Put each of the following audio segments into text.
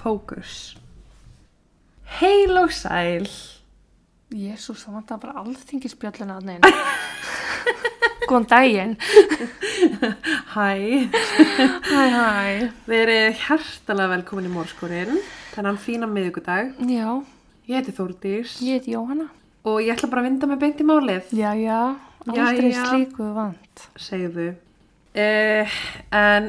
fókus. Heil og sæl. Jésús, það vantar bara alþingisbjölluna að neina. Góðan daginn. Hæ. Hæ, hæ. Verið hjertalega velkomin í mórskurinn. Þennan fína miðugudag. Já, Ég heiti Þórdís. ég heiti Jóhanna. Og ég ætla bara að vinda mig beint í málið. Já, já, aldrei Já, já. slíku vant. Segðu. Uh, en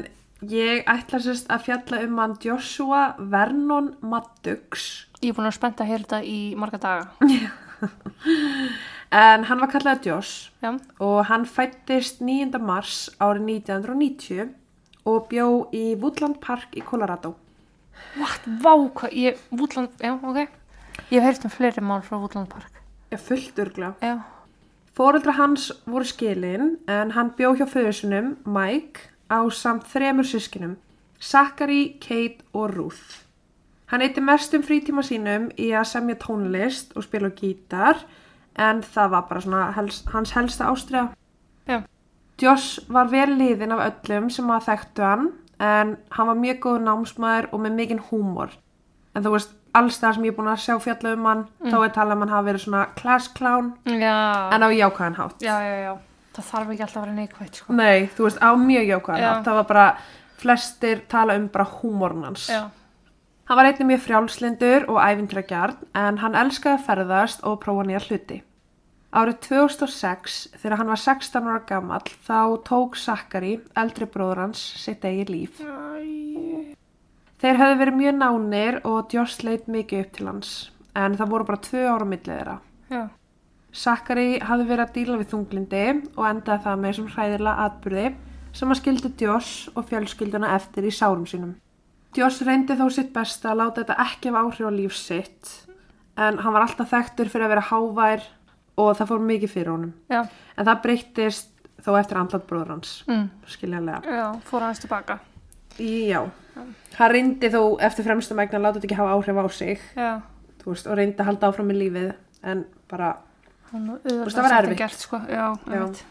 ég ætla sérst að fjalla um hann Joshua Vernon Maddux. Ég er búin að spenta að heyra þetta í marga daga. En hann var kallað Josh. Já, og hann fættist 9. mars árið 1990 og bjó í Woodland Park í Colorado. what, vá, hvað, ég, Vúdland, já, ok. Ég hef heyrt um fleiri mál frá Vúdland Park. Ég fullt örgla. Já, Fóreldra hans voru skilin en hann bjó hjá föðusunum, Mike, á samt þremur sískinum, Zachary, Kate og Ruth. Hann eitti mestum frítíma sínum í að semja tónlist og spila á gítar en það var bara svona hels, hans helsta ástriða. já, Josh var vel liðinn af öllum sem að þekktu hann en hann var mjög góð námsmaður og með mikinn húmor. En þú veist, alls það sem ég er búin að sjá fjalla um hann, þá er talað um hann hafa verið svona class clown já, en á jákvæðan hátt. já, já, já. Það þarf ekki alltaf að vera neikvægt, sko. Nei, þú veist, á mjög jákvæðan Já. hátt. Það var bara, flestir tala um bara húmorn hans. Já, Hann var einnig mjög frjálslindur og æfintrækjarn en hann elskaði að ferðast og prófa nýja hluti. Árið 2006, þegar hann var 16 ára gamall, þá tók Sakari, eldri bróður hans, sitt eigi líf. Þeir höfðu verið mjög nánir og Josh leit mikið upp til hans, en það voru bara tvö ára millið þeirra. já, Sakari hafði verið að díla við þunglindi og endaði það með þessum hræðilega atbyrði sem að skildi Josh og fjölskylduna eftir í sárum sínum. Josh reyndi þó sitt besta að láta þetta ekki hafa áhrif á líf sitt en hann var alltaf þekktur fyrir að vera hávær og það fór mikið fyrir honum. já, En það breyttist þó eftir andlat bróður hans, Mm. skiljanlega. já, fór hans tilbaka. Já, hann reyndi þó eftir fremsta megna að láta þetta ekki hafa áhrif á sig Já, þú veist, og reyndi að halda áfram í lífið en bara hann var veist, auðvitað það var sagt en erfitt. gert, sko. Já, Já. einmitt.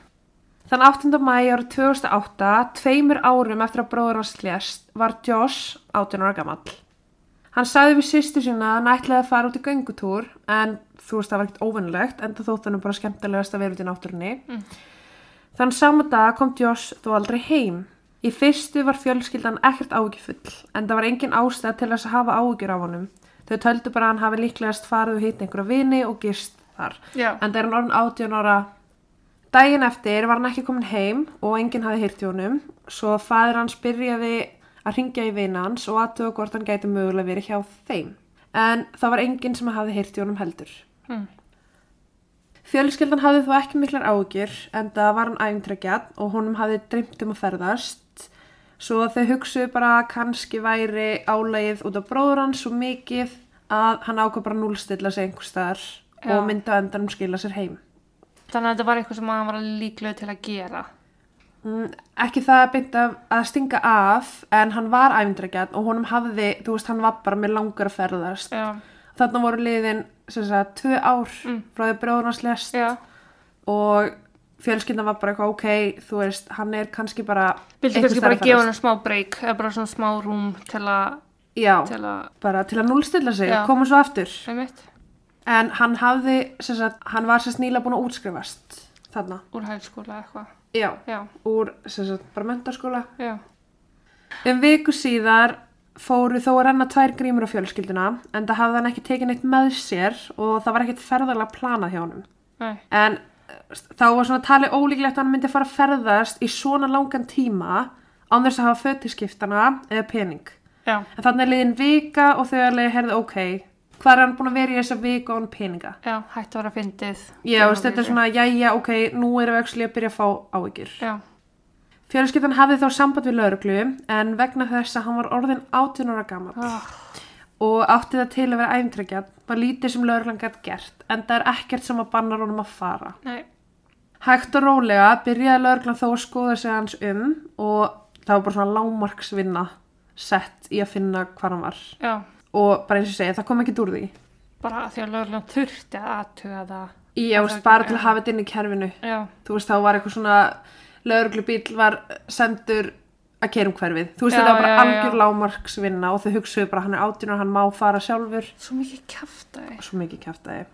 Þann 8. mæ árið 2008, tveimur árum eftir að bróður hans lést, var Josh 18 ára gamall. Hann sagði við sýstu sína að hann ætlaði að fara út í göngutúr en þú veist það var ekkert óvinnlegt en það þótt hann bara skemmtilegast að vera út í náttúrunni. Þann sama dag kom Josh þó aldrei heim. Í fyrstu var fjölskyldan ekkert ágjufull en það var engin ástæð til þess að hafa ágjur á honum. Þau töldu bara að hann hafi líklegast farið og hitt einhverja vini og gist þar. Já. En það er hann orðin 18 ára. Dægin eftir var hann ekki komin heim og enginn hafi hýrt í honum. Svo fæður hans byrjaði að ringja í vina hans og aðtöða hvort hann gæti mögulega verið hjá þeim. En það var enginn sem hafi hýrt í honum heldur. Fjölskyldan hafði þó ekki miklar ágjur en það var hann æfintrækjað og honum hafði dreymt um að ferðast svo þau hugsuðu bara að kannski væri álegið út af bróður hans svo mikið að hann ákvað bara núlstilla sig einhver staðar Já. og myndi á endanum skila sér heim. Þannig að þetta var eitthvað sem hann var líklega til að gera. Mm, Ekki það beint af að stinga af en hann var æfintrækjað og honum hafði, þú veist, hann var bara með langar að ferðast. Já, Þarna voru liðin, sem sagt, tvö ár frá því að bróður hans lest Mm. já. og fjölskyldan var bara eitthvað ok, þú veist, hann er kannski bara Vildi einhvers kannski staðar bara að gefa ferðast. henni smá breyk, eða bara svona smá rúm til að, Já, til að, bara til að núlstilla sig, Já. koma svo aftur einmitt, en hann hafði, sem sagt, hann var sérst nýla búin að útskrifast þarna, úr hælskóla eða eitthvað. já Já, úr, sem sagt, bara mentaskóla já, um viku síðar fóru þó að renna tvær grímur á fjölskylduna en það hafði hann ekki tekin eitt með sér og það var ekkit ferðalega planað hjá honum nei, en eh, þá var svona talið ólíklegt að hann myndi fara að ferðast í svona langan tíma án þess að hafa fötiskiptana eða pening. já, En þannig er liðin vika og þau alveg herði ok, hvað er hann búin að vera í þessa vika án peninga? já, hætti að vera fyndið. Já, veist, þetta er svona, jæja, ok, nú erum við ekki að byrja að fá áhyggjur. Já, Fjölskyldan hafði þá samband við lauruglu en vegna þess að hann var orðin 18 ára gammal ah, og átti það til að vera æfntrækjað var lítið sem lauruglan gætt gert en það er ekkert sem að bannar honum að fara. nei, Hægt og rólega byrjaði lauruglan þó að skoða sig hans um og það var bara svona lámarksvinna sett í að finna hvað hann var. já, Og bara eins og ég segja, það kom ekki úr því. bara af því að lögurlega þurfti að aðtuga það. Ég veist bara til að hafa þetta inn í kerfinu. Já, Þú veist, þá var eitthvað svona, lauruglu bíl var sendur að keira um hverfið þú veist Já, þetta var bara já, já. algjör lágmarksvinna og þau hugsuðu bara hann er átján og hann má fara sjálfur Svo mikið kjaftaði. svo mikið kjæftæði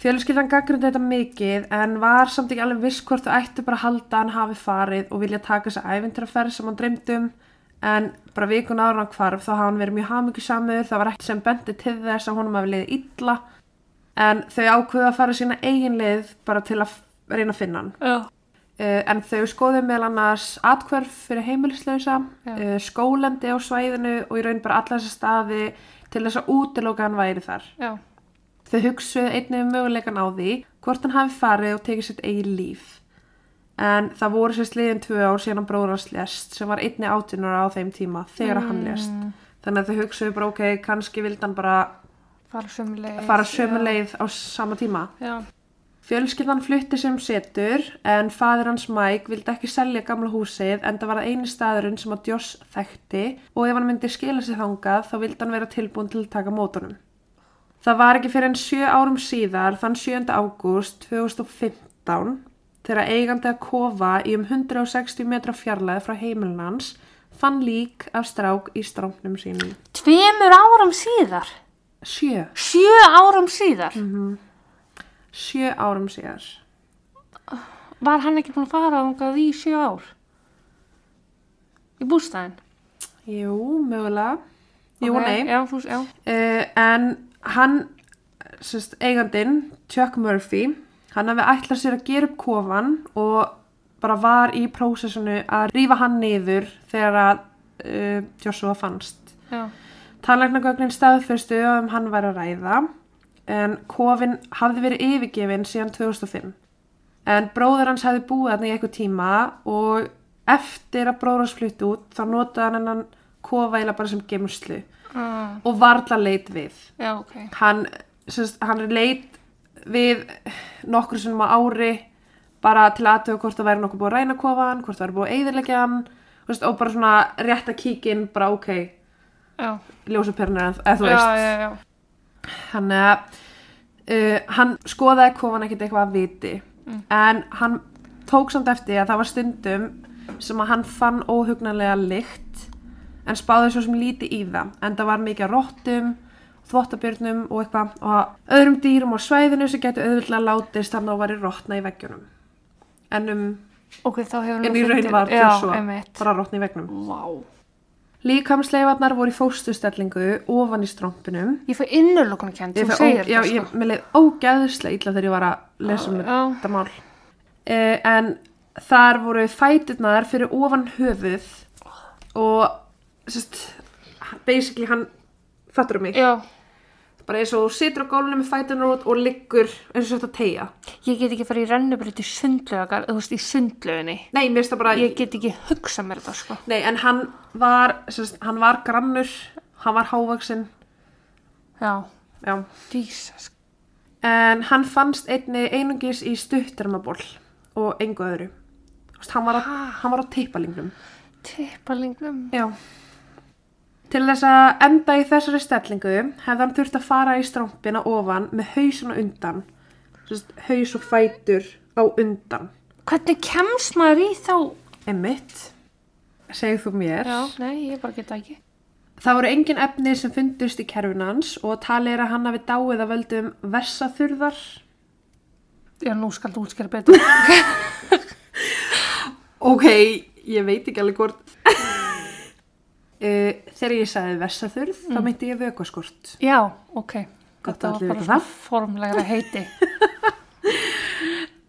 fjölskyldan gaggrundi þetta mikið en var samt ekki alveg viss hvort þau ættu bara að halda að hann hafi farið og vilja taka þessa æfintraferð sem hann dreymdi um en bara vikun ára hann hvarf þá hafði hann verið mjög hamingisamur það var ekkert sem bendi til þess að honum hafi liðið illa en þau ákveðu að fara sína eigin leið bara til að f- reyna að finna hann Já. Uh, en þau skoðu meðal annars atkverf fyrir heimilislausa, Já. uh, skólendi á svæðinu og í raun bara alla þessa staði til þess að útiloka að hann væri þar. Já. Þau hugsuðu einnig um möguleikan á því hvort hann hafi farið og tekið sitt eigin líf. En það voru sér sliðin tvö ár síðan að bróður hans lest sem var einni átunar á þeim tíma þegar hann lest. Þannig að þau hugsuðu bara ok, kannski vildi hann bara Fara sömu leið. fara sömu leið á sama tíma. Já. Fjölskyldan flutti sem setur en fadir hans Mike vildi ekki selja gamla húsið en það var það eini staðurinn sem að Joss þekkti og ef hann myndi skila sig þangað þá vildi hann vera tilbúin til að taka mótunum. Það var ekki fyrir en sjö árum síðar þann 7. ágúst 2015 þegar eigandi að kofa í um 160 metra fjarlæði frá heimilin hans fann lík af strák í stráknum sínum. Tveimur árum síðar. Sjö, Sjö árum síðar. sjö árum síðar. Var hann ekki búin að fara þangað í sjö ár? Í bústæðin? Jú, mögulega. Jú, Ok, nei. Já, þú, já. uh, en hann sérst, eigandinn, Chuck Murphy hann hafi ætlað sér að gera upp kofan og bara var í prósessinu að rífa hann niður þegar að uh, Joshua fannst Já. Tannlæknagögnin staðfyrstu um hann væri að ræða en kofinn hafði verið yfirgefin síðan 2005. En bróður hans hafði búið hann í eitthvað tíma og eftir að bróður hans flutti út þá notaði hann hann kofa eila bara sem gemslu Ah, og varla leit við. já, ok. Hann, sérst, hann leit við nokkur sem á ári bara til aðtöðu hvort það væri nokkuð búið að ræna kofan, hvort það væri búið að eyðilegja hann þú veist, og bara svona rétt að kíkin bara ok, Já. ljósapernar eða þú já, veist já, já. þannig að uh, hann skoðaði kofan ekkert eitthvað að viti Mm. en hann tók samt eftir að það var stundum sem að hann fann óhugnanlega lykt en spáði svo sem lítið í það en það var mikið af rottum þvottabjörnum og eitthvað og öðrum dýrum á svæðinu sem getur auðvitað látist þannig að væri rottna í veggjunum en um Ok, þá hefur en í raun var Um já, Joshua einmitt. bara rottna í veggjunum Vá. líkamsleifarnar voru í fóstustellingu ofan í strómpinum Ég fæ innurlokunarkend, Ég þú fæ ó- segir já, þetta sko. ég, mér leið ógæðislega illa þegar ég var að lesa um Já. þetta mál uh, en þar voru fæturnar fyrir ofan höfuð og sest, basically hann fattur um mig Já, bara eins og þú situr á gólunum með fæturnar út og liggur eins og þetta tegja ég get ekki farið í rennubrið í sundlögar, þú veist, í sundlöginni. nei, mér finnst það bara Ég get ekki hugsað mér þetta, sko. nei, en hann var, sest, hann var grannur hann var hávaksinn Já, já Jesus. En hann fannst einni einungis í stuttarmaból og engu öðru. Þú veist, Hann var, á, hann var á teipalingnum. Tippalingnum. Já. Til þess að enda í þessari stellingu hefði hann þurft að fara í strámpina ofan með hausin og undan. Sest, haus og fætur á undan. Hvernig kemst maður í þá? Emmitt, segðu þú mér. Nei, ég bara geta ekki. Það voru engin efni sem fundust í kerfin hans og talið er að hann hafi dáið að völdum vessaþurðar Já, nú skal þú útskjara betur. Ok, ég veit ekki alveg hvort uh, Þegar ég sagði vessaþurð þá meinti ég vökuaskort já, ok. Gott Þetta að var allir bara vita svona það. formlegra heiti.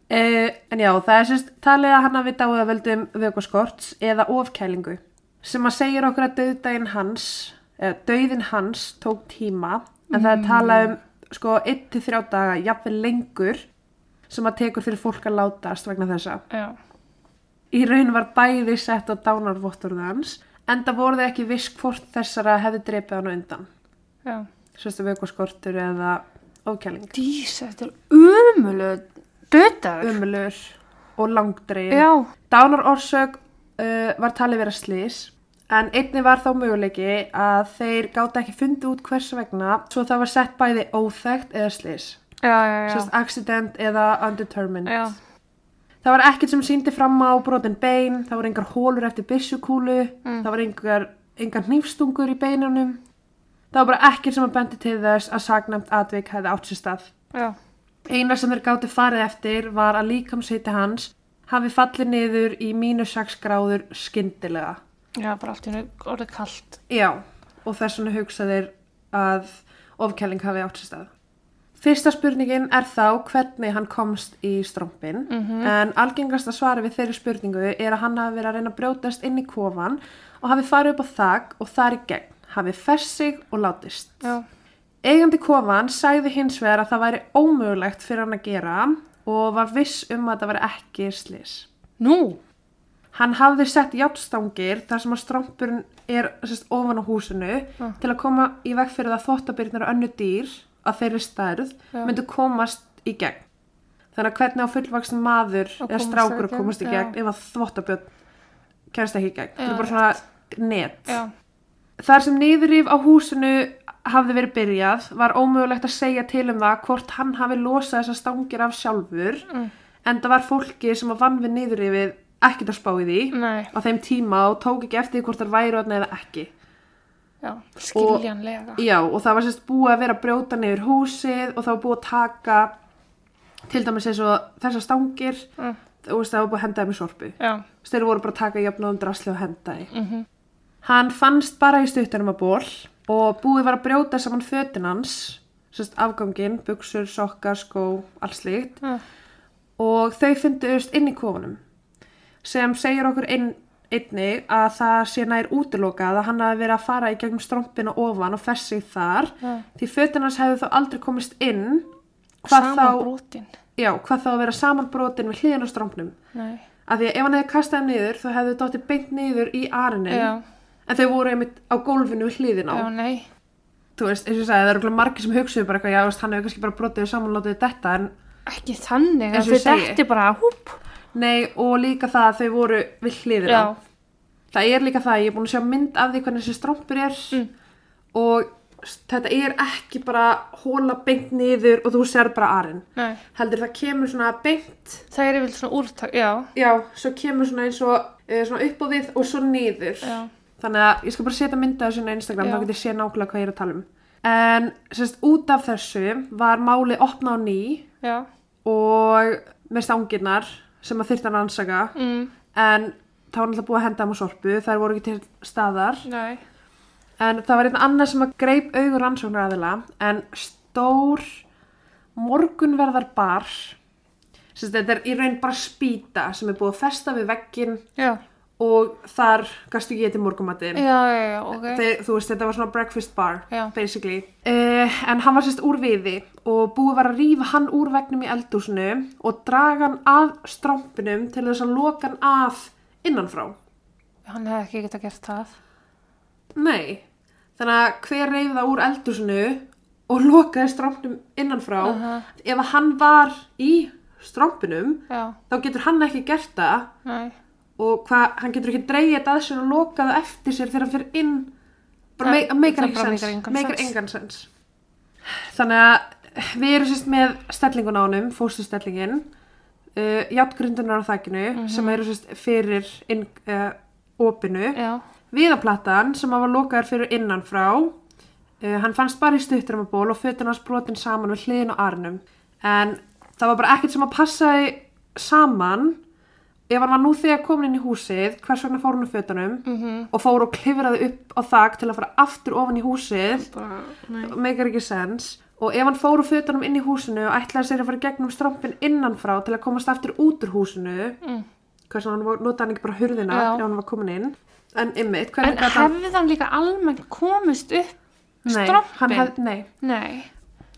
uh, En já, það er sérst talið að hann hafi dáið að völdum vökuaskorts eða ofkælingu sem að segir okkur að döðdæin hans eða döðin hans tók tíma en það er talað um sko 1-3 daga, jafnvel lengur sem að tekur fyrir fólk að látast vegna þessa. já. Í raun var bæði sett á dánarvotturðu hans en það voru þau ekki viss hvort þessara hefði dreipið hann á undan. Já. sérstu vökuaskortur eða ofkæling Dísa, þetta er umulöð. Döðdagur. umlur og langdreið Já. dánar orsök uh, var talið vera slís en einni var þá möguleiki að þeir gáta ekki fundið út hvers vegna svo það var sett bæði óþægt eða slís Já, já, já. sérst accident eða undetermined já. Það var ekkert sem síndi fram á brotin bein, það voru engar hólur eftir byssukúlu, Mm. það voru engar, engar hnífstungur í beinunum. Það var bara ekkert sem að bendi til þess að sagnamt atvik hefði átt sér stað. Já. Einar sem þeir gáttu farið eftir var að líkamshiti hans hafi fallið niður í mínus 6 gráður skyndilega. Já, bara allt í hennu orðið kallt. Já, og þess vegna hugsa þeir að ofkæling hafi átt sér stað. Fyrsta spurningin er þá hvernig hann komst í strómpin, en algengasta svari við þeirri spurningu er að hann hafi verið að reyna að brjótast inn í kofan og hafi farið upp á þak og þar í gegn, hafi fest sig og látist. Já. Eigandi kofan sagði hins vegar að það væri ómögulegt fyrir hann að gera og var viss um að það væri ekki slis. Nú? Hann hafði sett játstangir þar sem að strámpurinn er sérst, ofan á húsinu til að koma í veg fyrir það þvottabirnir og önnu dýr að þeirri stærð myndu komast í gegn. Þannig að hvernig á fullvaksin maður Að eða komast strákur í að gegn, komast í já. gegn ef að þvottabjörn kærast ekki í gegn. Það Já, er bara svona net. Já. Þar sem niðurrýf á húsinu hafði verið byrjað var ómögulegt að segja til um það hvort hann hafi losað þessar stangir af sjálfur Mm. en það var fólki sem að vann við niðurrýfið ekkert að spá í því Nei. á þeim tíma og tók ekki eftir því hvort þær væru þarna eða ekki. Já. Skiljanlega. Já og það var sérst búið að vera að brjóta niður húsið og það var búið að taka til dæmis eins og þessar stangir Mm. þú veist það var búið að henda þeim í sorpu. Já. Þeir voru bara að taka jafnóðum drasli og henda í. Hann fannst bara í stuttunum að ból og búið var að brjóta saman fötin hans, sérst afgangin, buksur, sokkar, skó, allt slíkt. Mm. Og þau fundust inn í kofunum sem segir okkur inn, einnig að það sé nær útilokað að hann hafi verið að fara í gegnum strompina ofan og fest sig þar því fötin hans hefðu þá aldrei komist inn hvað Saman þá, brotin. já, hvað þá að vera samanbrotin við hliðin á strompnum Nei. af því að ef hann hefði kastað þeim niður þá hefðu dóttið beint niður í arinin Já. en þau voru einmitt á gólfinu við hliðin á Já, nei. þú veist, eins og ég sagði, það eru örugglega margir sem hugsuðu bara eitthvað, já, veist, hann hefur kannski bara brotið samanlótið þetta en Ekki þannig. Eins að og ég Þau segi. dætti bara húp. nei, og líka það að þau voru við hliðin á Já. það er líka það, að ég er búin að sjá mynd af því hvernig þessi strómpur er Mm. og s- þetta er ekki bara hóla beint niður og þú ser bara arinn Nei. heldur það kemur svona beint Það er yfir svona úrtak. Já. já, svo kemur svona eins og eh, svona upp á við og svo niður Já. Þannig að ég skal bara setja mynda þessu inn á Instagram, Já. þá getur ég sé nákvæmlega hvað ég er að tala um. En sérst, út af þessu var málið opna á ný Já. og með stangirnar sem að þyrfti hann að ansaka. Mm. En það var náttúrulega búið að henda hann á sorpu, þær voru ekki til staðar. Nei. En það var einn annað sem að greip augur rannsóknar aðila, en stór morgunverðar bar, sérst, þetta er í raun bara spýta sem er búið að festa við vegginn Já. og þar gastu ekki getið morgumatinn. Já, já, já, ok. Þeir, þú veist, þetta var svona breakfast bar, Já. basically. Uh, en hann var sérst úr viði og búið var að rífa hann úr vegnum í eldhúsinu og draga hann að strómpinum til þess að loka hann að innanfrá. Hann hefði ekki getað gert það. Nei, þannig að hver reyði það úr eldhúsinu og lokaði strómpinum innanfrá, Aha. ef að hann var í strómpinum, Já. þá getur hann ekki gert það Nei. og hvað, hann getur ekki dreigið þetta að sér og lokað það eftir sér þegar hann fyrir inn bara Nei, me meikar það ekki bara sens meikar engan meikar sens. engan sens þannig að við erum sérst með stellingun á honum, fóstustellingin uh, játgrundunar á þakkinu Mhm. sem eru sérst fyrir inn, uh, opinu Já. viðaplatan sem hafa lokaður fyrir innan frá uh, hann fannst bara í stuttramaból og fötin hans brotin saman við hliðin og arnum en það var bara ekkert sem að passaði saman ef hann var nú þegar komin inn í húsið hvers vegna fór hann úr fötunum Mhm. -hmm. og fór og klifraði upp á þak til að fara aftur ofan í húsið Bara, nei. meikar ekki sens og ef hann fór úr fötunum inn í húsinu og ætlaði sér að fara í gegnum strampin innanfrá til að komast aftur út úr húsinu Mm. hvers vegna hann var- notaði hann ekki bara hurðina Já. ef hann var komin inn en ymmit, En hvernig gat hann hefði hann líka almennt komist upp Nei, strompinn? hann hef, nei, Nei,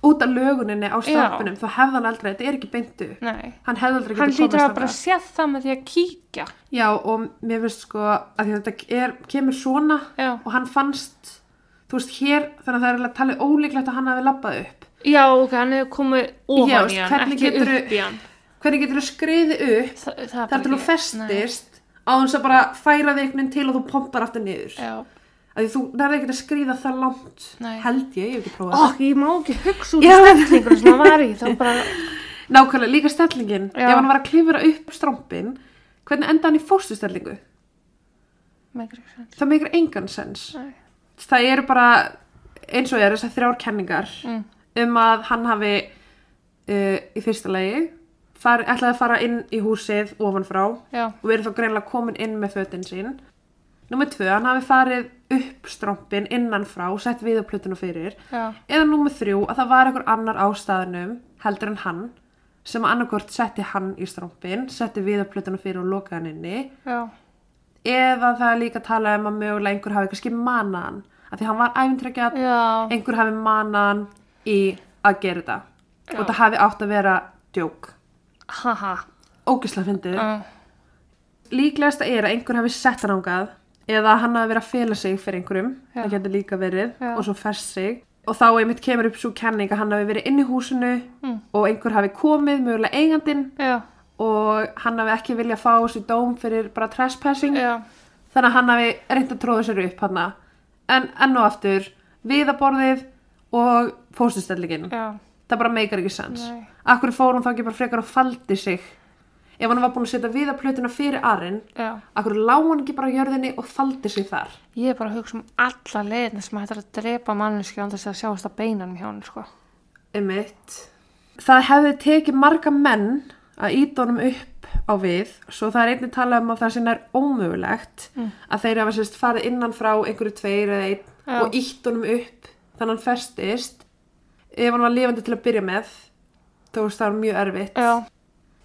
út af löguninni á strompinum þá hefði hann aldrei, þetta er ekki beintu nei. hann hefði aldrei Hann getið komast hlýtur að þangað bara sé það með því að kíkja. já og mér finnst sko að því að þetta er, kemur svona Já. og hann fannst þú veist hér, þannig að það er eiginlega talið ólíklegt að hann hafi labbað upp Já, ok, hann hefur komið Já, ofan í veist, hann, hvernig ekki geturðu- upp í hann. hvernig getur þú skriðið upp Þa, það er þar til þú ekki- Nei. festist á þess að bara færa þig einhvern veginn til og þú pompar aftur niður Já. af því þú nærði ekkert að skriða það langt Nei. held ég, ég hef ekki prófað Ó, ég má ekki hugsa út í Já. stellingur sem það var í, þá bara, Nákvæmlega, líka stellingin. Já. Ef hann var að klifra upp strómpin, hvernig enda hann í fóstustellingu? Make it sense. Það meikir engan sens. Nei. Það eru bara, eins og er þessar þrjár kenningar Mm. um að hann hafi uh, í fyrsta lagi far, ætlaði að fara inn í húsið ofan frá og Já, verið þá greinlega komin inn með fötin sín. Númer tvö, hann hafi farið upp strómpin innan frá, sett við á plötuna fyrir já, eða númer þrjú að það var einhver annar á staðnum heldur en hann sem annarkvort setti hann í strómpin, setti viðarplötuna fyrir og lokaði hann inni já, eða það er líka að tala um að mögulega einhver hafi kannski manað hann af því hann var æfintrækjað, já, einhver hafi manað hann í að gera þetta og það hafi átt að vera djók haha, ógislega fyndið já, líklegasta er að einhver hafi sett hann ángað eða hann hafi verið að fela sig fyrir einhverjum Já. það getur líka verið Já. og svo fest sig og þá einmitt kemur upp svo kenning að hann hafi verið inn í húsinu Mm. og einhver hafi komið mögulega eigandinn já, og hann hafi ekki viljað fá sér dóm fyrir bara trespassing já, þannig að hann hafi reynd að tróða sér upp hann en enn og aftur viðaborðið og fóstustellingin já, það bara meikar ekki sens Nei. akkur fór hann þá ekki bara frekar og faldi sig ef hann var búin að setja viðaplötuna fyrir arinn já. Akkur lág hann ekki bara á jörðinni og faldi sig þar? Ég er bara að hugsa um alla leiðina sem hættar að drepa manneski án þess að sjáast að beinanum hjá hann, sko. Emitt. Það hefði tekið marga menn að íta honum upp á við, svo það er einnig talað um að það sem er ómögulegt Mm. að þeir hafa sérst farið innan frá einhverju tveir eða einn Já. og ítt honum upp þannig að hann festist. Ef hann var lifandi til að byrja með, þá veist það var mjög erfitt. Já,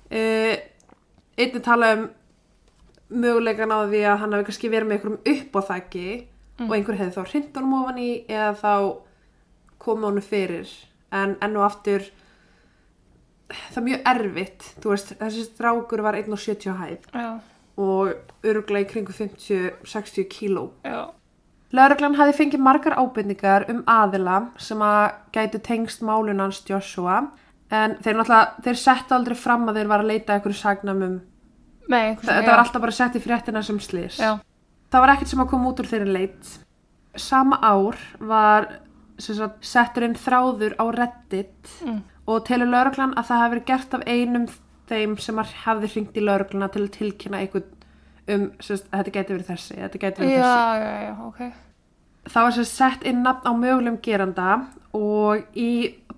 Uh, einnig tala um möguleikan á því að hann hafi kannski verið með einhverjum upp á þakki og einhver hefði þá hrind honum ofan í eða þá koma honum fyrir en enn og aftur það er mjög erfitt þú veist, þessi strákur var 1,70 á hæð já, og öruglega í kringu 50-60 kíló já, Lörglan hafi fengið margar ábyrningar um aðila sem að gætu tengst málunans Joshua en þeir náttúrulega, þeir settu aldrei fram að þeir var að leita að einhverju sagnamum. með einhvers Þetta var alltaf bara sett í fréttina sem slís. Já, Það var ekkert sem að koma út úr þeirri leit. Sama ár var sem sagt, setturinn þráður á Reddit Mm. og telur lauruglan að það hafi verið gert af einum þeim sem að hafði hringt í laurugluna til að tilkynna einhvern um, sem sagt, þetta gæti verið þessi, þetta gæti já, verið þessi. já, já, já, ok. Það var sér sett inn nafn á mögulegum geranda og í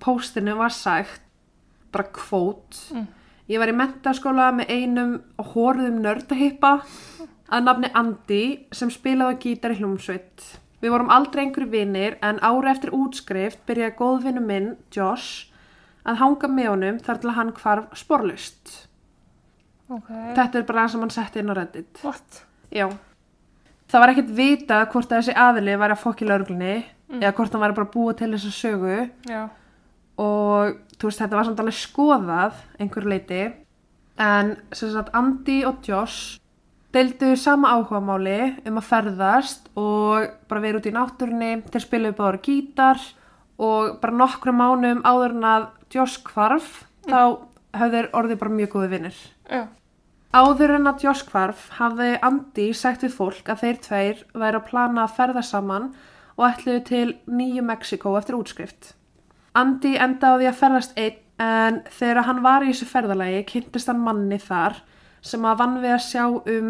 póstinu var sagt bara kvót. Ég var í mentaskóla með einum hóruðum nördahippa að nafni Andi sem spilaði á gítar í hljómsveit. Við vorum aldrei einhverju vinir en ára eftir útskrift byrjaði góðvinu minn, Josh, að hanga með honum þar til að hann hvarf sporlust. Ok. Þetta er bara það sem hann setti inn á reddit. What? Já. Það var ekkert vitað hvort að þessi aðili væri að fokki lauruglunni eða hvort hann væri bara að búa til þessa sögu Já, og þú veist þetta var samt alveg skoðað einhverju leiti en sem sagt Andi og Josh deildu sama áhugamáli um að ferðast og bara vera út í náttúrunni þeir spiluðu bara gítar og bara nokkru mánum áður en að Josh hvarf þá höfðu þeir orðið bara mjög góði vinnir. já, Áður en að Josh hvarf hafði Andi sagt við fólk að þeir tveir væri að plana að ferða saman og ætluðu til Nýju Mexiko eftir útskrift. Andi enda á því að ferðast einn en þegar hann var í þessu ferðalagi kynntist hann manni þar sem að vann við að sjá um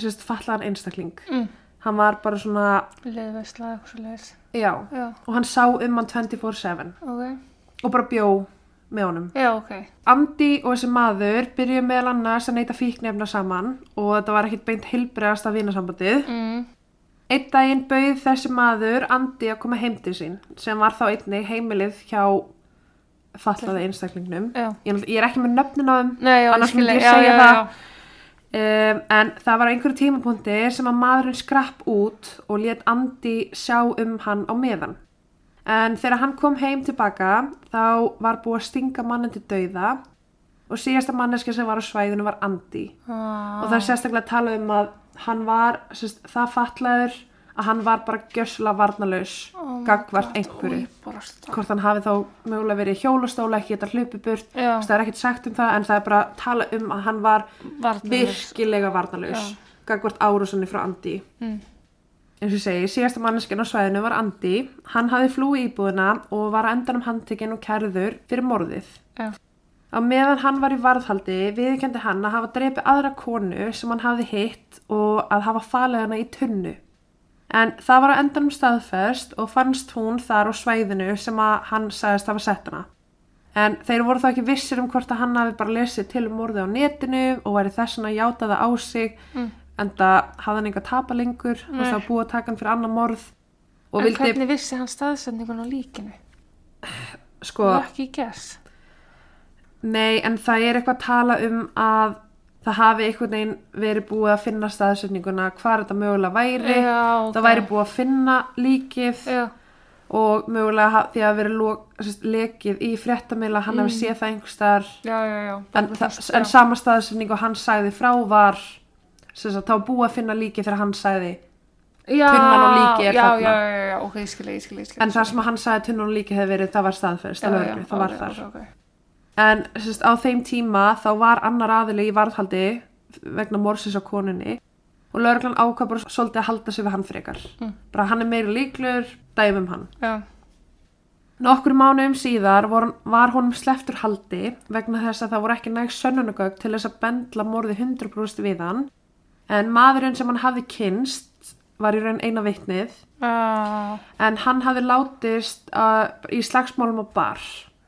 sérst, fallaðan einstakling. Mm. Hann var bara svona, liðveisla, eitthvað svo leiðis. já, Já, og hann sá um hann 24-7 ok. og bara bjó með honum. Já, ok. Andi og þessi maður byrjuðu meðal annars að neyta fíknefna saman og þetta var ekkit beint hilbriðast af vinasambandið. Mm. Einn daginn bauð þessi maður Andi að koma heim til sín sem var þá einnig heimilið hjá fallaði einstaklingnum. Já. Ég, náttúrulega- ég er ekki með nöfnin á þeim Nei, já, Annars myndi ég já, segja já, það. já, um, en það var á einhverju tímapunkti sem að maðurinn skrapp út og let Andi sjá um hann á meðan. En þegar hann kom heim tilbaka þá var búið að stinga mannin til dauða og síðasta manneska sem var á svæðinu var Andi. Ah, og það er sérstaklega að tala um að hann var sérst, það fallaður að hann var bara gjössulega varnalaus Oh my gagvart God, einhverju oj, bara stað. hvort hann hafi þá mögulega verið í hjólastóla ekki geta hlupið burt Já. Þess, það er ekkert sagt um það en það er bara að tala um að hann var Varnarlaus. virkilega varnalaus gagvart árásunni frá Andi Mm. eins og ég segi, síðasta manneskinn á svæðinu var Andi hann hafi flúi íbúðina og var að endanum handtekinn og kærður fyrir morðið Já. Á meðan hann var í varðhaldi viðkendi hann að hafa dreipið aðra konu sem hann hafði hitt og að hafa falið hana í tunnu. En það var á endanum staðfest og fannst hún þar á svæðinu sem að hann sagðist hafa sett hana. En þeir voru þá ekki vissir um hvort að hann hafi bara lesið til um orðið á netinu og væri þessan að játa það á sig Mm. en það hafði hann enga tapa lengur og Nei. það búið að taka hann fyrir annar morð og En vildi, hvernig vissi hann staðsendingun á líkinu? sko, Og ekki í gess. nei en það er eitthvað að tala um að það hafi einhvern veginn verið búið að finna staðsetninguna hvar þetta mögulega væri Já, ok. það væri búið að finna líkið Já, og mögulega ha- því að verið lok, sérst, lekið í fréttamila hann hafi séð það einhverstaðar já, já, já. en, Bara það, fyrst, en Mm. já. sama staðsynning og hann sagði frá var sem sagt, þá búið að finna líki þegar hann sagði Já, tunnan og líkið er já, þarna. Já, já, já, ok, ég skilja, ég skilja, ég skilja. en það sem hann sagði tunnan og líki hefði verið það var staðferðist, það, lögreglu, það var þar Okay, en sem sagt, á þeim tíma þá var annar aðili í varðhaldi vegna morsins á konunni og lauruglan ákvað bara svolítið að halda sig við hann frekar Mm. bara hann er meiri líklur, dæmum hann Já, Nokkur mánuðum síðar vor, var honum sleftur haldi vegna þess að það voru ekki næg sönnunagögg til þess að bendla morði 100% við hann en maðurinn sem hann hafði kynst var í raun eina vitnið já, en hann hafði látist uh, í slagsmálum á bar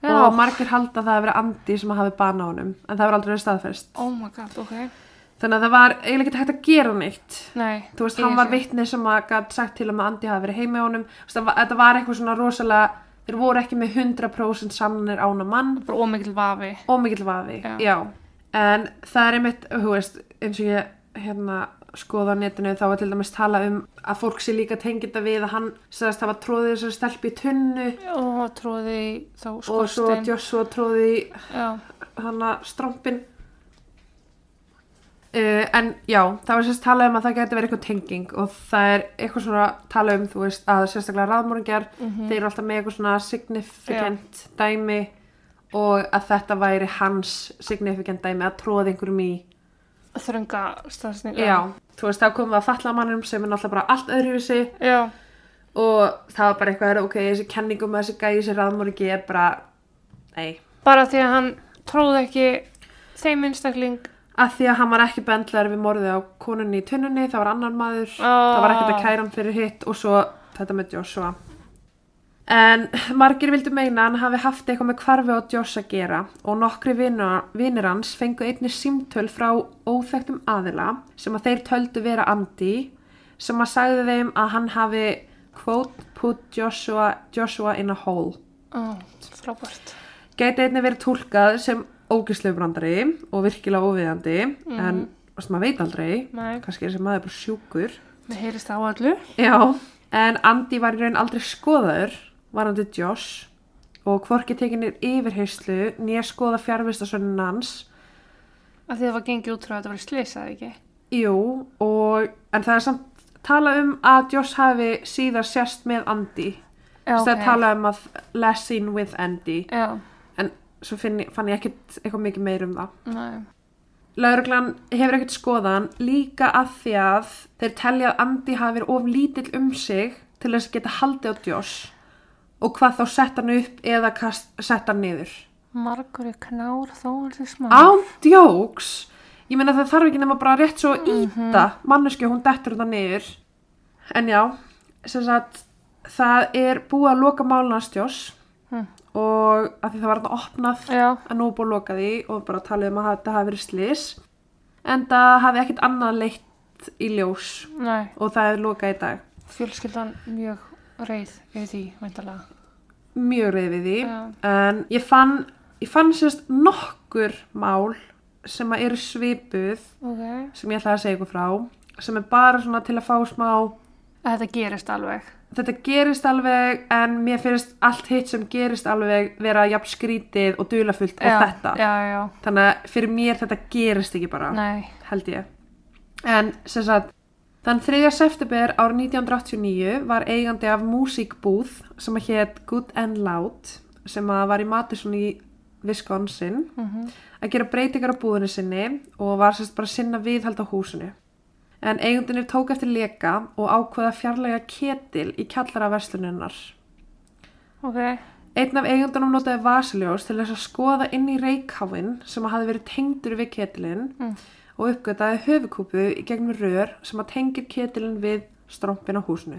Já. og margir halda að það að vera andi sem hafi bana honum en það var aldrei verið staðfest oh my god, ok. þannig að það var eiginlega ekki hægt að gera neitt Nei. þú veist, ég hann var skil. vitni sem að gæt sagt til um að Andi hafi verið heima hjá honum Þú veist, það var- þetta var eitthvað svona rosalega þeir voru ekki með 100% sannir ána mann Bara ómikil vafi. og mikill vafi, Já. en það er einmitt, þú veist, eins og ég hérna skoða á netinu þá var til dæmis tala um að fólk sé líka tengita við að hann sagðist hafa tróðið þessari stelpu í tunnu Og tróði í þá og svo skorstein. Joshua tróðið í Já, hana strómpin uh, en já það var sérst talað um að það geti verið eitthvað tenging og það er eitthvað svona talað um þú veist að sérstaklega ráðmóringjar Mm. mhm. þeir eru alltaf með eitthvað svona significant dæmi og að þetta væri hans significant dæmi að tróða einhverjum í þrönga staðsninga. já, þú veist þá komum við að falla mannum sem er náttúrulega bara allt öðru við sig Já, og það var bara eitthvað ok, þessi kenningum að þessi gæði þessi ráðmóringi er bara, nei bara því að hann tróði ekki þeim einstakling að því að hann var ekki bendlar við morðið á konunni í tunnunni, það var annar maður Ah. það var ekkert að kæra hann fyrir hitt og svo þetta með Joshua en margir vildu meina að hann hafi haft eitthvað með hvarfi á Josh að gera og nokkri vinur, vinur hans fengu einni símtöl frá óþektum aðila sem að þeir töldu vera Andy sem að sagði þeim að hann hafi quote put Joshua, Joshua in a hole Ó, frábært. gæti einnig verið túlkað sem ógisleubrandari og virkilega óviðandi en veist, maður veit aldrei Nei. kannski er þessi maður bara sjúkur Mér heyrist það á öllu. já, en Andy var í raun aldrei skoðaður varandi Josh og hvorki tekinir yfirheyslu nýja skoða fjárvistasönnun hans Af því það var gengið út frá að þetta var slysað, ekki? jú, og, en það er samt tala um að Josh hafi síðar sérst með Andy Já, þess að tala um að lesson with Andy Já, en svo finn, ég- fann ég ekkit eitthvað mikið meir um það nei. Lauruglan hefur ekkert skoðan líka að því að þeir telja að Andi hafi verið of lítill um sig til þess að geta haldið á Josh og hvað þá sett hann upp eða kast, sett hann niður. Margur er knár þó er því smá. Án djóks! Ég meina það þarf ekki nema bara rétt svo að íta mm manneski hún dettur þetta niður. En já, sem sagt, það er búið að loka málunast Josh Mm. og að því það var hann opnað Já, að nú er búið að loka því og bara talið um að þetta hafi verið slis en það hafi ekkert annað leitt í ljós nei. og það er lokað í dag Fjölskyldan mjög reið yfir því, veintalega. mjög reyð við því Já. en ég fann, ég fann sérst nokkur mál sem að eru svipuð Ok. sem ég ætlaði að segja ykkur frá sem er bara svona til að fá smá Þetta gerist alveg. þetta gerist alveg en mér finnst allt hitt sem gerist alveg vera jafn skrítið og dulafullt og já, þetta Já, já, þannig að fyrir mér þetta gerist ekki bara nei. held ég. En sem sagt, þann 3. september árið 1989 var eigandi af músíkbúð sem að hétt Good and Loud sem að var í Madison í Wisconsin Mm að gera breytingar á búðinu sinni og var sérst bara að sinna viðhald á húsinu. En eigundinir tók eftir leka og ákvaða fjarlæga ketil í kjallaraversluninnar. Ok, Einn af eigendunum notaði vasaljós til þess að skoða inn í reikháfinn sem hafði verið tengdur við ketilinn Mm. og uppgötaði höfukúpu í gegnum rör sem að tengir ketilinn við strómpin á húsinu.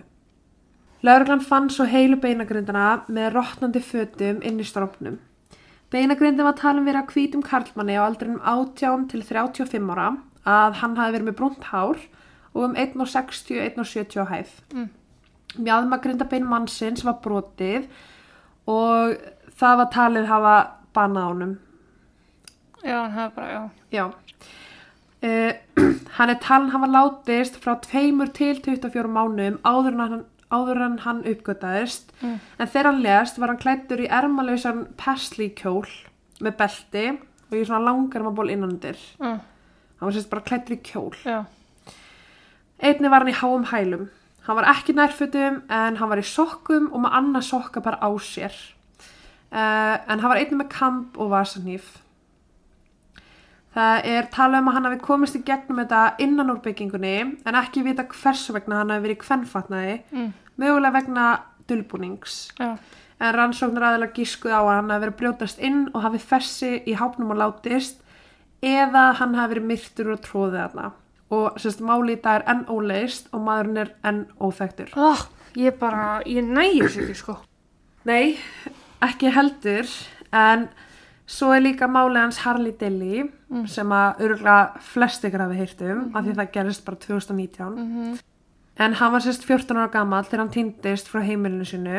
Lauruglan fann svo heilu beinagrindina með rotnandi fötum inn í strómpnum. Beinagrindin var talin vera hvítum karlmanni á aldrinum 18 til 35 ára að hann hafi verið með brúnt hár og um 1,60-1,70 hæð. Mm. Mjadmagrindabein mannsins var brotið og það var talið hafa banað honum. Já, hann hefði bara, já. Já. Uh, hann er talin hafa látist frá tveimur til 24 mánum áður en hann, áður en hann uppgötaðist Mm. en þegar hann leðast var hann klættur í ermalausan perslíkjól með belti og í svona langar maður ból innanundir. Mm. Hann var sérst bara klættur í kjól. Já. Einni var hann í háum hælum. Hann var ekki nærfutum en hann var í sokkum og með annað sokkapar á sér. Uh, en hann var einni með kamp og vasanýf. Það er talað um að hann hafi komist í gegnum þetta innan úr byggingunni en ekki vita hversu vegna hann hafi verið í kvennfatnaði, Mm. mögulega vegna dulbúnings. Já. En rannsóknar aðeins gískuð á að hann hafi verið að brjótast inn og hafi fessi í hápnum og látist eða hann hafi verið myrtur og tróðið þarna. Og sérst, máli í dag er enn óleist og maðurinn er enn óþektur. Ó, ég bara, ég nægir sér ekki, sko. Nei, ekki heldur, en svo er líka máli hans Harley Dilly sem að örgla flest ykkur hafi heyrt um af því það gerist bara 2019. En hann var sérst 14 ára gammal þegar hann týndist frá heimilinu sinu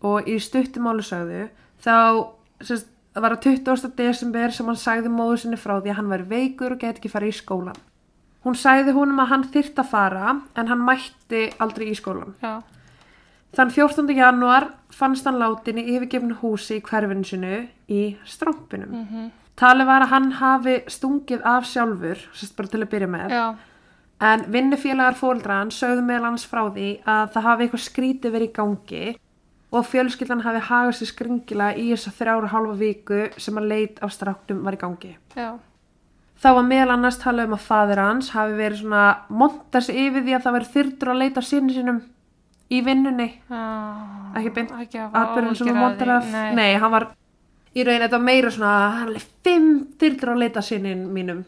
og í stuttum álusögðu þá sérst, það var að 20. desember sem hann sagði móður sinni frá því að hann væri veikur og gæti ekki farið í skólan. Hún sagði húnum að hann þyrft að fara en hann mætti aldrei í skólan. Já. Þann 14. januar fannst hann látin í yfirgefnu húsi í hverfinu sinu í strómpinum. Mm Talið var að hann hafi stungið af sjálfur, sérst bara til að byrja með, Já. en vinnufélagar fóldra hann sögðu meðal hans frá því að það hafi eitthvað skrítið verið í gangi og fjölskyldan hafi hagað sér skringila í þessa þrjára hálfa viku sem að leit af stráknum var í gangi. Já. Þá var meðal annars talað um að fadir hans hafi verið svona monta sig yfir því að það verið þyrtur að leita sinni sinum í vinnunni Já. Ekki beint Ekki að fá atbyrðin sem áhyggjur var af því, mótar af Nei. nei, hann var í raun þetta var meira svona hann er alveg fimm dyrtur að leita sinnin mínum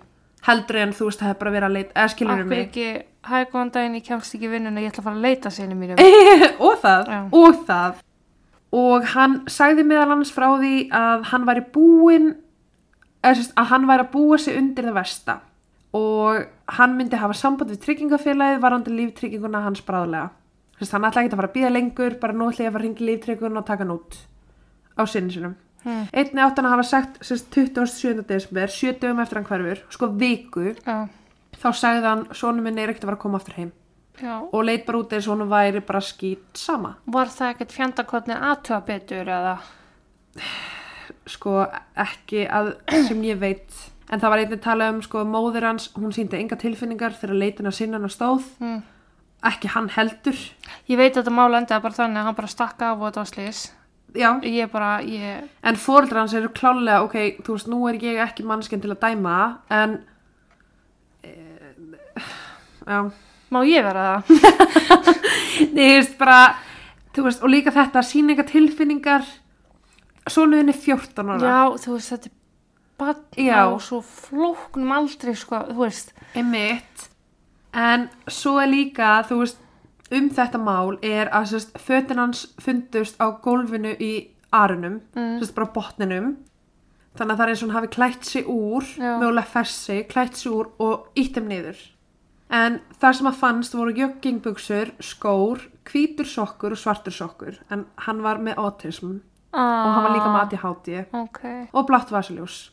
heldur en þú veist það hefur bara verið að leita eða skilur um Akkur mig ekki, hæ, góðan daginn, ég kemst ekki í vinnuna, ég ætla að fara að leita sinni mínum. og það, Já. og það og hann sagði meðal annars frá því að hann væri búinn eða sérst að hann væri að búa sig undir það versta og hann myndi hafa samband við tryggingafélagið varandi líftrygginguna hans bráðlega sérst hann ætla ekki að fara að býða lengur bara nú ætla ég að fara að ringa líftrygginguna og taka hann út á sinni sinum Hmm. Einni átti hann að hafa sagt sérst 27. desember, 7 dögum eftir hann hverfur, sko viku, Já. þá sagði hann sonu minni er ekkert að vera að koma aftur heim Já. og leit bara út eins og hann væri bara skýt sama. Var það ekkert fjandakornið aðtjóða betur eða? Sko ekki að sem ég veit, en það var einni talað um sko móðir hans, hún síndi enga tilfinningar þegar leitin að sinna hann stóð, Hmm. ekki hann heldur. Ég veit að þetta mál endaði bara þannig að hann bara stakk af og þetta var slís. Já, Ég bara, ég, en fóreldrar hans eru klálega, ok, þú veist, nú er ég ekki mannskinn til að dæma, en, e, já, má ég vera það? Nei, þú veist bara, þú veist, og líka þetta, síninga tilfinningar, sonuðin er 14 ára. Já, þú veist, þetta er Já. bara og svo flóknum aldrei, sko, þú veist. Einmitt. En svo er líka, þú veist, um þetta mál er að sérst, fötin hans fundust á gólfinu í arunum, Mm. sérst bara botninum. Þannig að það er eins og hann hafi klætt sig úr, Já. mögulega fessi, klætt sig úr og ítt þeim niður. En það sem að fannst voru joggingbuksur, skór, hvítur sokkur og svartur sokkur. En hann var með autism Ah, og hann var líka með ADHD Ok, og blátt vasaljós.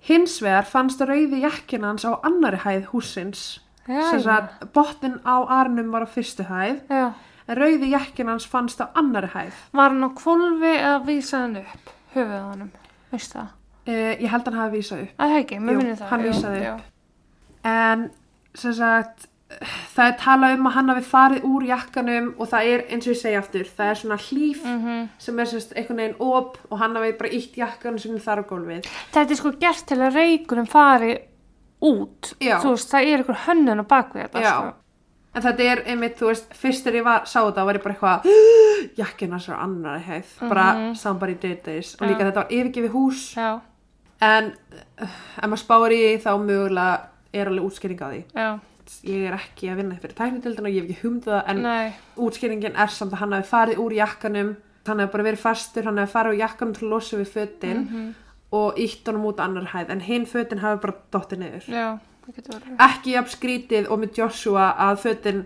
Hins vegar fannst rauði jakkin hans á annari hæð húsins. já, Sem já. sagt, botnin á arnum var á fyrstu hæð, já. en rauði jakkin hans fannst á annari hæð. Var hann á kvolfi eða vísaði hann upp, höfuð á hannum, veist það? Uh, ég held hann hafi vísað upp. Að það ekki, Jú, mér minnir það. hann já, vísaði já. En, sem sagt, það er talað um að hann hafi farið úr jakkanum og það er, eins og ég segi aftur, það er svona hlýf Mhm. sem er sem sagt einhvern veginn op og hann hafi bara ítt jakkanum sem þar á gólfið. Þetta er sko gert til að reykurinn fari út. Já. Þú veist, það er ykkur hönnun á bakvið þetta, Já. sko. En þetta er einmitt, þú veist, fyrst þegar ég var, sá þetta var ég bara eitthvað jakkin hans er á annari hæð, bara somebody did this og líka þetta var yfirgefið hús já, en uh, ef maður spáir í því þá mögulega er alveg útskýring á því já, ég er ekki að vinna fyrir tæknitildin og ég hef ekki humdað það en nei, útskýringin er samt að hann hafi farið úr jakkanum hann hafi bara verið fastur, hann hafi farið úr jakkanum til að losa við fötin Mhm. og ítt honum út á annar hæð en hinn fötin hafi bara dottið niður já, það getur verið. ekki jafn skrítið og með Joshua að fötin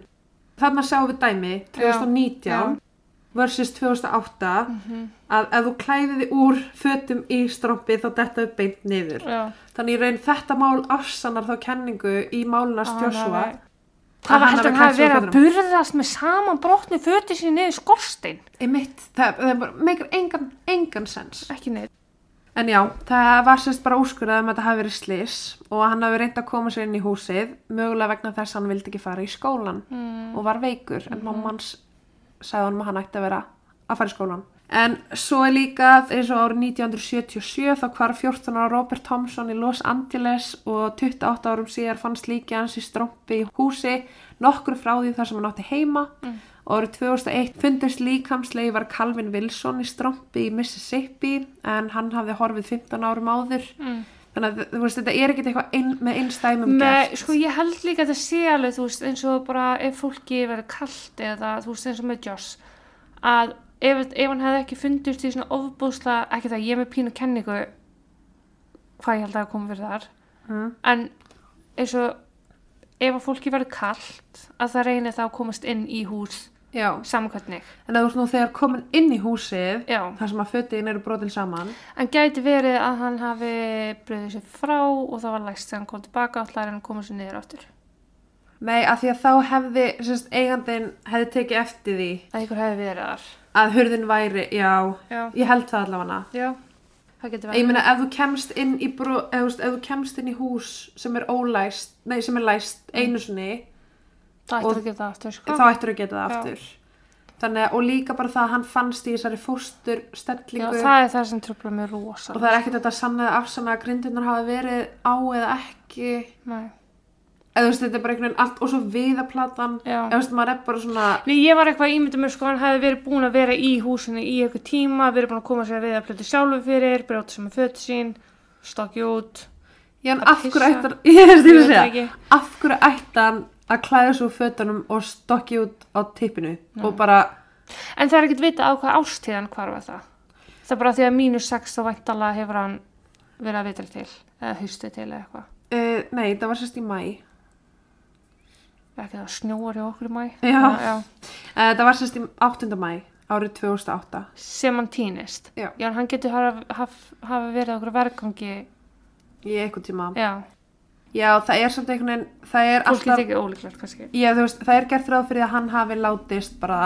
þarna sjáum við dæmi 2019 já. Mhm. versus 2008 að ef þú klæðið þig úr fötum í strompið þá detta við beint niður Já, þannig í raun þetta mál afsannar þá kenningu í málunast Að hann Joshua hafi- það var hann heldur hafi hann hafi klætt sig úr verið að burðast með saman brotni föti sín niður skorstein. einmitt, það, það er bara meikar engan, engan sens Ekki neitt. En já, það var sérst bara úrskurðað um að þetta hafi verið slis og hann hafi reynd að koma sér inn í húsið mögulega vegna þess að hann vildi ekki fara í skólan Mm. og var veikur en mamma hans sagði hann að hann ætti að vera að fara í skólan. En svo er líka eins og árið 1977 þá hvarf 14 ára Robert Thompson í Los Angeles og 28 árum síðar fannst líki hans í strompi í húsi nokkru frá því þar sem hann átti heima Mm. og árið 2001 fundist líkamsleifar Calvin Wilson í strompi í Mississippi en hann hafði horfið 15 árum áður Mm. þannig að þú veist þetta er ekkert eitthvað ein, með einstæmum Með, gert sko ég held líka að það sé alveg þú veist eins og bara ef fólki verður kallt eða þú veist eins og með Joss að ef, ef hann hefði ekki fundist í svona ofbúsla ekki það ég er með pínu kenningu hvað ég held að hafi komið fyrir þar Mm. en eins og ef að fólki verður kallt að það reynir þá að komast inn í hús Já, samkvæmnig en að þú veist nú þegar komin inn í húsið Já. þar sem að fötin eru brotin saman En gæti verið að hann hafi bröðið sér frá og það var læst þegar hann kom tilbaka allar en komið sér niður áttur. Nei, að því að þá hefði sérst, eigandin hefði tekið eftir því Að ykkur hefði verið þar. að hurðin væri, já, Já. ég held það allavega Já, það Ég getur verið. meina, ef þú kemst inn í brú, ef, þú veist, ef þú kemst inn í hús sem er ólæst, nei, sem er læst einu sinni, Það og- ættir að gera það aftur, sko. þá ættir að geta það Já. aftur. Þannig að, og líka bara það að hann fannst í þessari fóstur Já, stellingu það er það sem tröfla mér rosa. og það er ekkert þetta sanna eða afsanna að grindunar hafa verið á eða ekki. Nei. Eða þú veist, þetta er bara einhvern veginn allt og svo viðaplatan. Já. Eða þú veist, maður er bara svona, Nei, ég var eitthvað ímyndum mér, sko, hann hefði verið búin að vera í húsinu í eitthvað tíma, verið búin að koma sér við að plötu sjálfu fyrir, brjóta sem er fötu sín, stokki út. já, en Að af hverju pissa. ættan, ég veist Ég því að veit segja, ekki. af hverju ættan að klæða svo fötunum og stokki út á tippinu og bara... En það er ekkert vita á hvað ástíðan hvar var það. Það er bara því að mínus 6 þá væntalega hefur hann verið að vitra til, eða hustið til eða eitthvað. Uh, nei, það var sérst í mæ. Ekki það snjóar hjá okkur í mæ. Já. Uh, það var sérst í 8. mæ árið 2008. Sem hann týnist. Já. Já, en hann getur hafa, haf- hafa verið okkur verkangi. Í eitthvað tíma. Já, Já, það er samt einhvern veginn, það er fólki alltaf, Alltaf... tekið ólíklegt kannski. já, þú veist, það er gert ráð fyrir því að hann hafi látist bara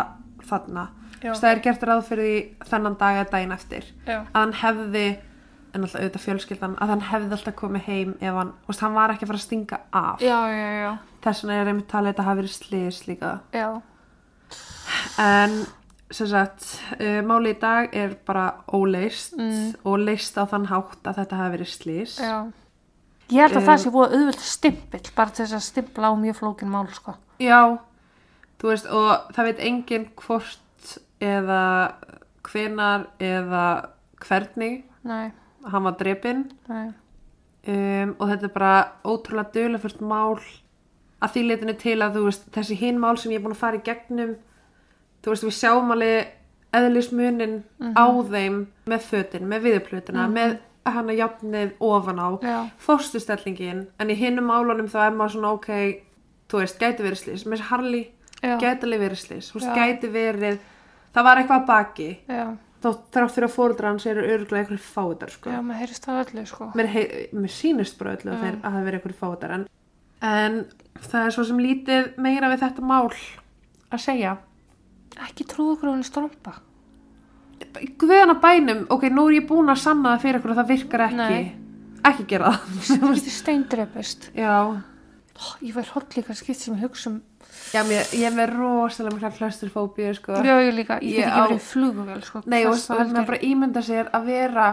þarna. Já. Þú veist, Það er gert ráð fyrir því þennan dag að daginn eftir. Já. Að hann hefði, en alltaf auðvitað fjölskyldan, að hann hefði alltaf komið heim ef hann, þú veist, hann var ekki að fara að stinga af. Já, já, já. Þess vegna er einmitt talið að þetta hafi verið slis líka. Já. En sem sagt, uh, máli í dag er bara óleist og leist á þann hátt að þetta hafi verið slís. Já. Ég held Um, að það sé búið auðvöld stimpill, bara til þess að stimpla á mjög flókin mál, sko. Já, þú veist, og það veit enginn hvort eða hvenar eða hvernig Nei, hann var drepinn nei. um, og þetta er bara ótrúlega dölufört mál að því leitinu til að þú veist þessi hinn mál sem ég er búin að fara í gegnum þú veist við sjáum alveg eðlismunin Mhm. á þeim með fötin, með viðplötuna með hana jafnið ofan á Já. fórstustellingin en í hinnum málunum þá er maður svona ok þú veist, gæti verið slís, með þessi Harley Já. gæti alveg verið slís, þú veist, Já. gæti verið það var eitthvað að baki Já, þá þrátt fyrir að fóruðra hans eru örgulega eitthvað fáiðar sko já, maður heyrist það öllu, sko. mér, hei, mér sýnist bara öllu að þeir að það veri eitthvað fótar en, en það er svo sem lítið meira við þetta mál að segja Ekki trúðu okkur á henni strompa. Guðana bænum, ok, nú er ég búin að sanna það fyrir ykkur og það virkar ekki Nei. ekki gera það Þú getur steindreipist. já, Ó, Ég var hótt líka skipt sem ég hugsa um já mér, ég er með rosalega mikla hlusturfóbíu sko. Já, ég líka, ég Ég get ekki á- verið í flugvél sko, nei, og hvað það er bara að ímynda sér að vera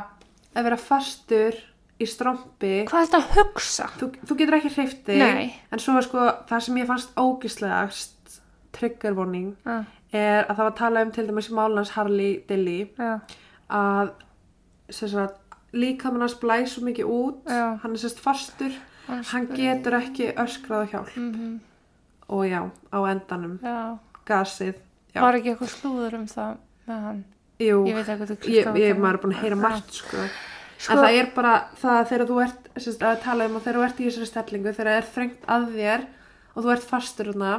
að vera fastur í strompi Hvað er þetta að hugsa? þú, þú getur ekki hreyft þig Nei. en svo sko það sem ég fannst ógislegast trigger warning Ah, er að það var að tala um til dæmis málans Harley Dilly já, að sem sagt, líkamann hans blæs svo mikið út Já. hann er sérst fastur Hann hann getur ekki öskrað á hjálp mhm, og já, á endanum já. gasið, já, Var ekki eitthvað slúður um það með hann? jú Ég veit ekki hvað þú ég, klikkar á ég það. maður er búin að heyra Já. margt sko. Sko- en það er bara það að þegar þú ert sérst, að tala um að þegar þú ert í þessari stellingu þegar það er þrengt að þér og þú ert fastur hana,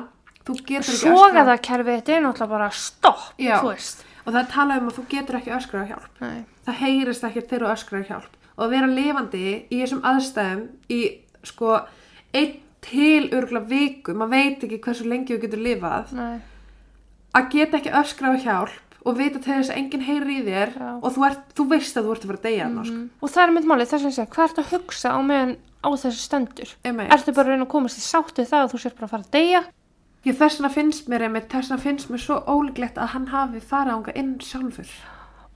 þú getur ekki Soga öskrað það kerfið, þetta er náttúrulega bara stopp, Já. þú veist. og það er talað um að þú getur ekki öskrað á hjálp Nei. það heyrist ekki þegar þú öskrar á hjálp og að vera lifandi í þessum aðstæðum í sko einn til örgulega viku maður veit ekki hversu lengi þú getur lifað Nei. að geta ekki öskrað á hjálp og vita til þess að enginn heyrir í þér Já. Mhm. og þú, ert, þú veist að þú ert að fara að deyja mm -hmm. Og það er mitt málið, þess að segja, hvað ertu að hugsa á meðan á þessu stendur? Einmitt. Ertu bara að reyna að komast í sáttu það að þú sér bara að fara að deyja? Ég þess vegna finnst mér einmitt, þess vegna finnst mér svo ólíklegt að hann hafi farið ánga inn sjálfur.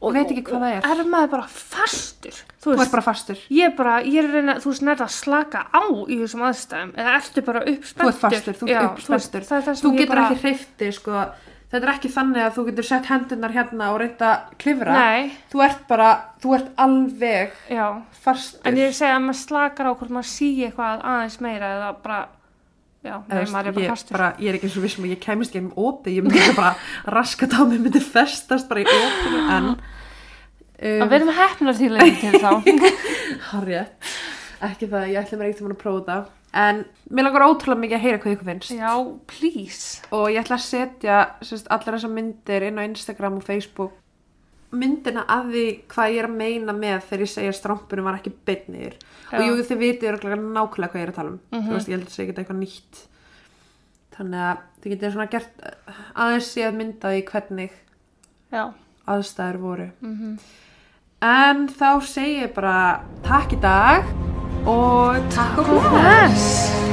Og veit ekki hvað það er. Er maður bara fastur? Þú Þú veist, ert bara fastur. ég er bara, ég er að reyna, þú veist, nærða að slaka á í þessum aðstæðum, eða ertu bara Þú uppspenntur? ert fastur, þú ert Já, uppspenntur. veist, það er Þú það sem ég getur bara... ekki hreyfti, sko. Þetta er ekki þannig að þú getur sett hendunar hérna og reynda að klifra. Nei, Þú ert bara, þú ert alveg já. fastur. En ég er að segja að maður slakar á hvort maður sé eitthvað aðeins meira eða bara, já, nei, Eða, maður er ég, bara fastur. bara, ég er ekki eins og vissum að ég kæmist ekki um opið, ég myndi bara raskat á mig, myndi festast bara í opinu, en uh, Að verðum hefnar því leiðin til þá. Harriet, ekki það, ég ætla mér eitthvað að prófa það, en mér langar ótrúlega mikið að heyra hvað ykkur finnst. já, please. og ég ætla að setja sérst, allar þessar myndir inn á Instagram og Facebook myndina að því hvað ég er að meina með þegar ég segja að strámpunum var ekki beinniður og Já. jú þið vitið örugglega nákvæmlega hvað ég er að tala um þú veist ég held að segja ekki eitthvað nýtt þannig að þið getið svona gert eh, aðeins ég að mynda því hvernig Já. aðstæður voru en þá segi ég bara takk í dag og takk og bless Yes.